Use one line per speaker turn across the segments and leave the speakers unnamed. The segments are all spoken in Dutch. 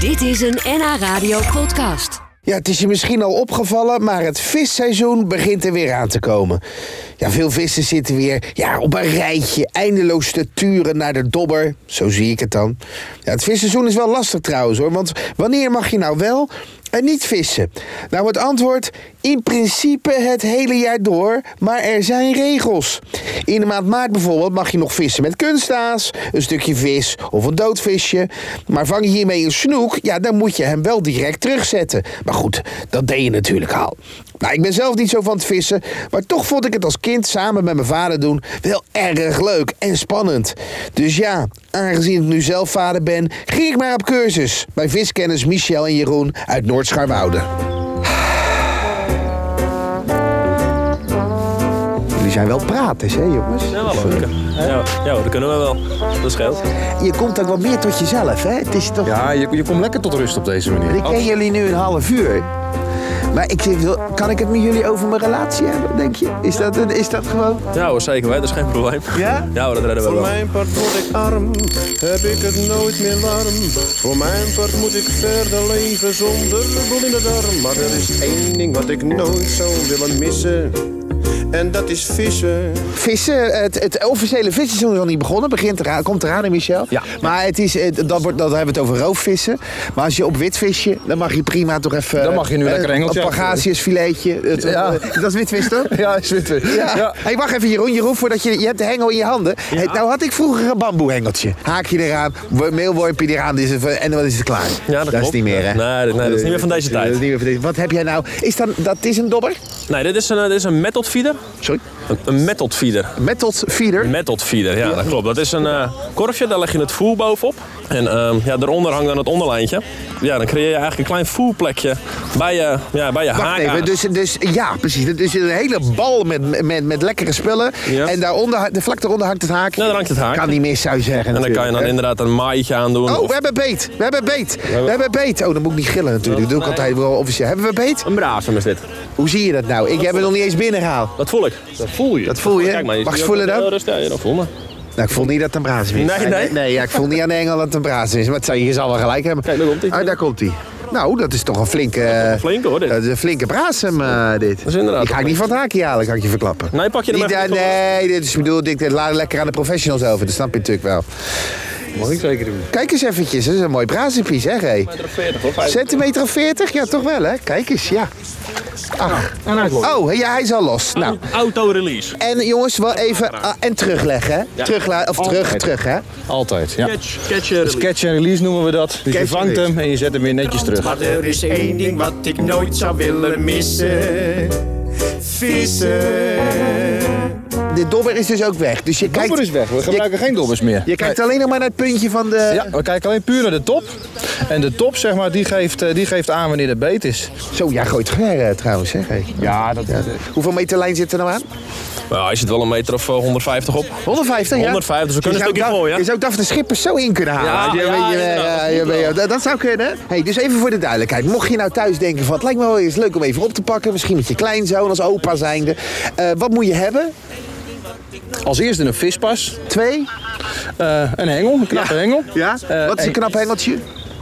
Dit is een NH Radio podcast.
Ja, het is je misschien al opgevallen, maar het visseizoen begint er weer aan te komen. Ja, veel vissen zitten weer ja, op een rijtje, eindeloos te turen naar de dobber. Zo zie ik het dan. Ja, het visseizoen is wel lastig trouwens hoor, want wanneer mag je nou wel en niet vissen? Nou, het antwoord, in principe het hele jaar door, maar er zijn regels. In de maand maart bijvoorbeeld mag je nog vissen met kunstaas, een stukje vis of een doodvisje. Maar vang je hiermee een snoek, ja, dan moet je hem wel direct terugzetten. Maar goed, dat deed je natuurlijk al. Nou, ik ben zelf niet zo van het vissen, maar toch vond ik het als kind samen met mijn vader doen wel erg leuk en spannend. Dus ja, aangezien ik nu zelf vader ben, ging ik maar op cursus bij viskenners Michel en Jeroen uit Noord-Scharwoude. Jullie zijn wel praters, hè jongens?
Ja, wel leuk. hè? Ja, ja, hoor, dat kunnen we wel. Dat scheelt.
Je komt ook wat meer tot jezelf, hè? Het is toch...
Ja, je, je komt lekker tot rust op deze manier.
Ik ken jullie nu een half uur. Maar ik zeg, wil- kan ik het met jullie over mijn relatie hebben, denk je? Is dat, een, is dat gewoon...
Ja hoor, zeker weten. Dat is geen probleem.
Ja?
Ja hoor, dat redden we
Voor
wel.
mijn part word ik arm, heb ik het nooit meer warm. Voor mijn part moet ik verder leven zonder boel in de darm. Maar er is één ding wat ik nooit zou willen missen. En dat is vissen.
Vissen, het, het officiële visseizoen is al niet begonnen. Begint eraan, komt eraan, hè, Michel?
Ja.
Maar het is, eh, dat, wordt, dat hebben we het over roofvissen. Maar als je op witvisje, dan mag je prima toch even...
Dan mag je nu
eh,
lekker engeltje.
Een pagasiusfiletje. Het-
Ja.
eh, Dat is witvis, toch?
Ja, is wit weer.
Ja.
Ja.
Hey, wacht even, Jeroen. Jeroen, voordat je, je hebt de hengel in je handen. Hey, nou had ik vroeger een bamboehengeltje. Haak je eraan, wo- meelworp je eraan dit is even- en dan is het klaar.
Ja, dat
is
klopt.
niet meer, hè?
Nee, dat- nee, dat is niet meer van deze
Dat is
tijd.
niet meer van deze- Wat heb jij nou? Is dan, dat is een dobber?
Nee, dit is een, eh, dit is een method feeder.
Sorry.
Een, een method feeder.
Met tot feeder.
Method feeder, ja, dat klopt. Dat is een eh, korfje, daar leg je het voer bovenop. En ehm, ja, daaronder hangt dan het onderlijntje. Ja, dan creëer je eigenlijk een klein voerplekje bij je, ja, bij je
Wacht
haak
even,
aan.
dus, dus ja, precies. Dus een hele bal met, met, met lekkere spullen.
Ja.
En daaronder, ha- de vlak daaronder hangt het haakje.
Ja, daar hangt het haakje.
Kan niet mis, zou je zeggen.
En dan kan je dan inderdaad een maaitje aan doen.
Oh,
of
we hebben beet. We hebben beet. We hebben beet. Oh, dan moet ik niet gillen natuurlijk. Dat doe ik
Nee.
altijd wel officieel. Hebben we beet?
een brazen is dit.
Hoe zie je dat nou? Ik heb het nog niet eens binnengehaald.
Dat voel ik. Dat voel je.
Dat voel je?
Kijk maar,
Mag ik
ziet
het voelen
ook-
dan?
Ja, rustig, ja, dat voel me.
Nou, ik voel niet dat het een braas is.
Nee, nee.
nee ja, ik voel niet aan de engel dat het een braas is. Maar het zou, je zal wel gelijk hebben.
Kijk, daar komt-ie.
Ah, daar komt hij. Nou, dat is toch een flinke... eh,
Flink hoor, dit.
Dat is een flinke braasem, eh, dit.
is inderdaad
Die ga ik niet van het haakje halen, kan ik je verklappen.
Nee, pak je hem
Niet,
even
eh,
niet van-
Nee, dit is, ik bedoel, dit, dit laat lekker aan de professionals over. Dat snap je natuurlijk wel.
Mag ik zeker doen.
Kijk eens eventjes, dat is een mooi braasempie, zeg hé.
Meter of 40 of 50.
Centimeter of 40? Ja, toch wel, hè? Kijk eens, ja. Ach. Oh, ja, hij is al los. Nou,
Auto-release.
en jongens, wel even... ah, en terugleggen, hè? Terugla- of terug, terug, hè?
Altijd, ja.
Catch, catch en release.
Catch en release noemen we dat. Dus je
Catch en
vangt
release.
hem en je zet hem weer netjes terug.
Maar er is één ding wat ik nooit zou willen missen. Vissen.
De dobber is dus ook weg. Dus je kijkt...
Dobber is weg, we gebruiken geen dobbers meer.
Je kijkt alleen nog maar naar het puntje van de...
Ja, we kijken alleen puur naar de top. En de top, zeg maar, die geeft, eh, die geeft aan wanneer de beet is.
Zo, jij gooit ver eh, trouwens, zeg. hé.
Ja, dat is
Hoeveel meter lijn zit er nou aan?
Nou, hij zit wel een meter of eh, 150 op.
150, ja.
150, dus we kunnen
je
een
zou
stukje
Daf-
gooien.
Je zou Daphne Schippers zo in kunnen halen.
Ja,
Je
ja,
weet- je-
inderdaad,
ja,
dat
je
moet
weet- dat, dat zou kunnen. Hey, dus even voor de duidelijkheid. Mocht je nou thuis denken van... het lijkt me wel eens leuk om even op te pakken. Misschien met je kleinzoon als opa zijnde. Eh, wat moet je hebben?
Als eerste een vispas,
Twee?
eh, een hengel, een knappe hengel.
Ja?
Eh,
wat is een
en-
knap hengeltje?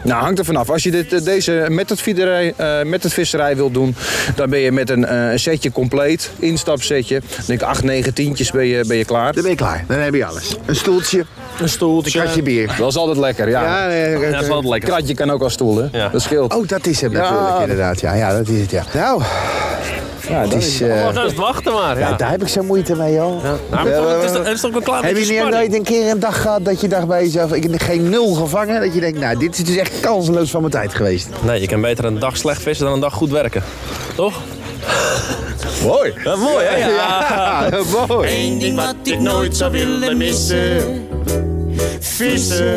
Nou, hangt er vanaf. Als je dit, eh, deze met het, viederij, eh, met het visserij wilt doen, dan ben je met een eh, een setje compleet, instapsetje. Dan denk ik 8, 9 tientjes ben je, ben je klaar.
Dan ben je klaar. Dan heb je alles. Een stoeltje,
Een stoeltje.
een kratje bier.
Dat is altijd lekker, ja.
Ja, nee,
Ja, dat is altijd lekker.
Kratje kan ook als stoel, hè?
Ja.
Dat scheelt.
Oh, dat is hem natuurlijk,
Ja.
inderdaad. Ja, ja, dat is het, ja. Nou,
ja,
het
dat
is... eh,
Oh, dat is het wachten maar. Ja.
ja, daar heb ik zo moeite mee, joh.
Nou, maar toch, het is, toch- het is toch een klein
Heb
beetje
je niet
spanning.
nooit een keer een dag gehad dat je dacht bij jezelf, ik heb geen nul gevangen? Dat je denkt, nou, dit is dus echt kanseloos van mijn tijd geweest.
Nee, je kan beter een dag slecht vissen dan een dag goed werken. Toch?
Mooi.
Ja, mooi, hè? Ah,
mooi.
Eén ding wat ik nooit zou willen missen. Vissen.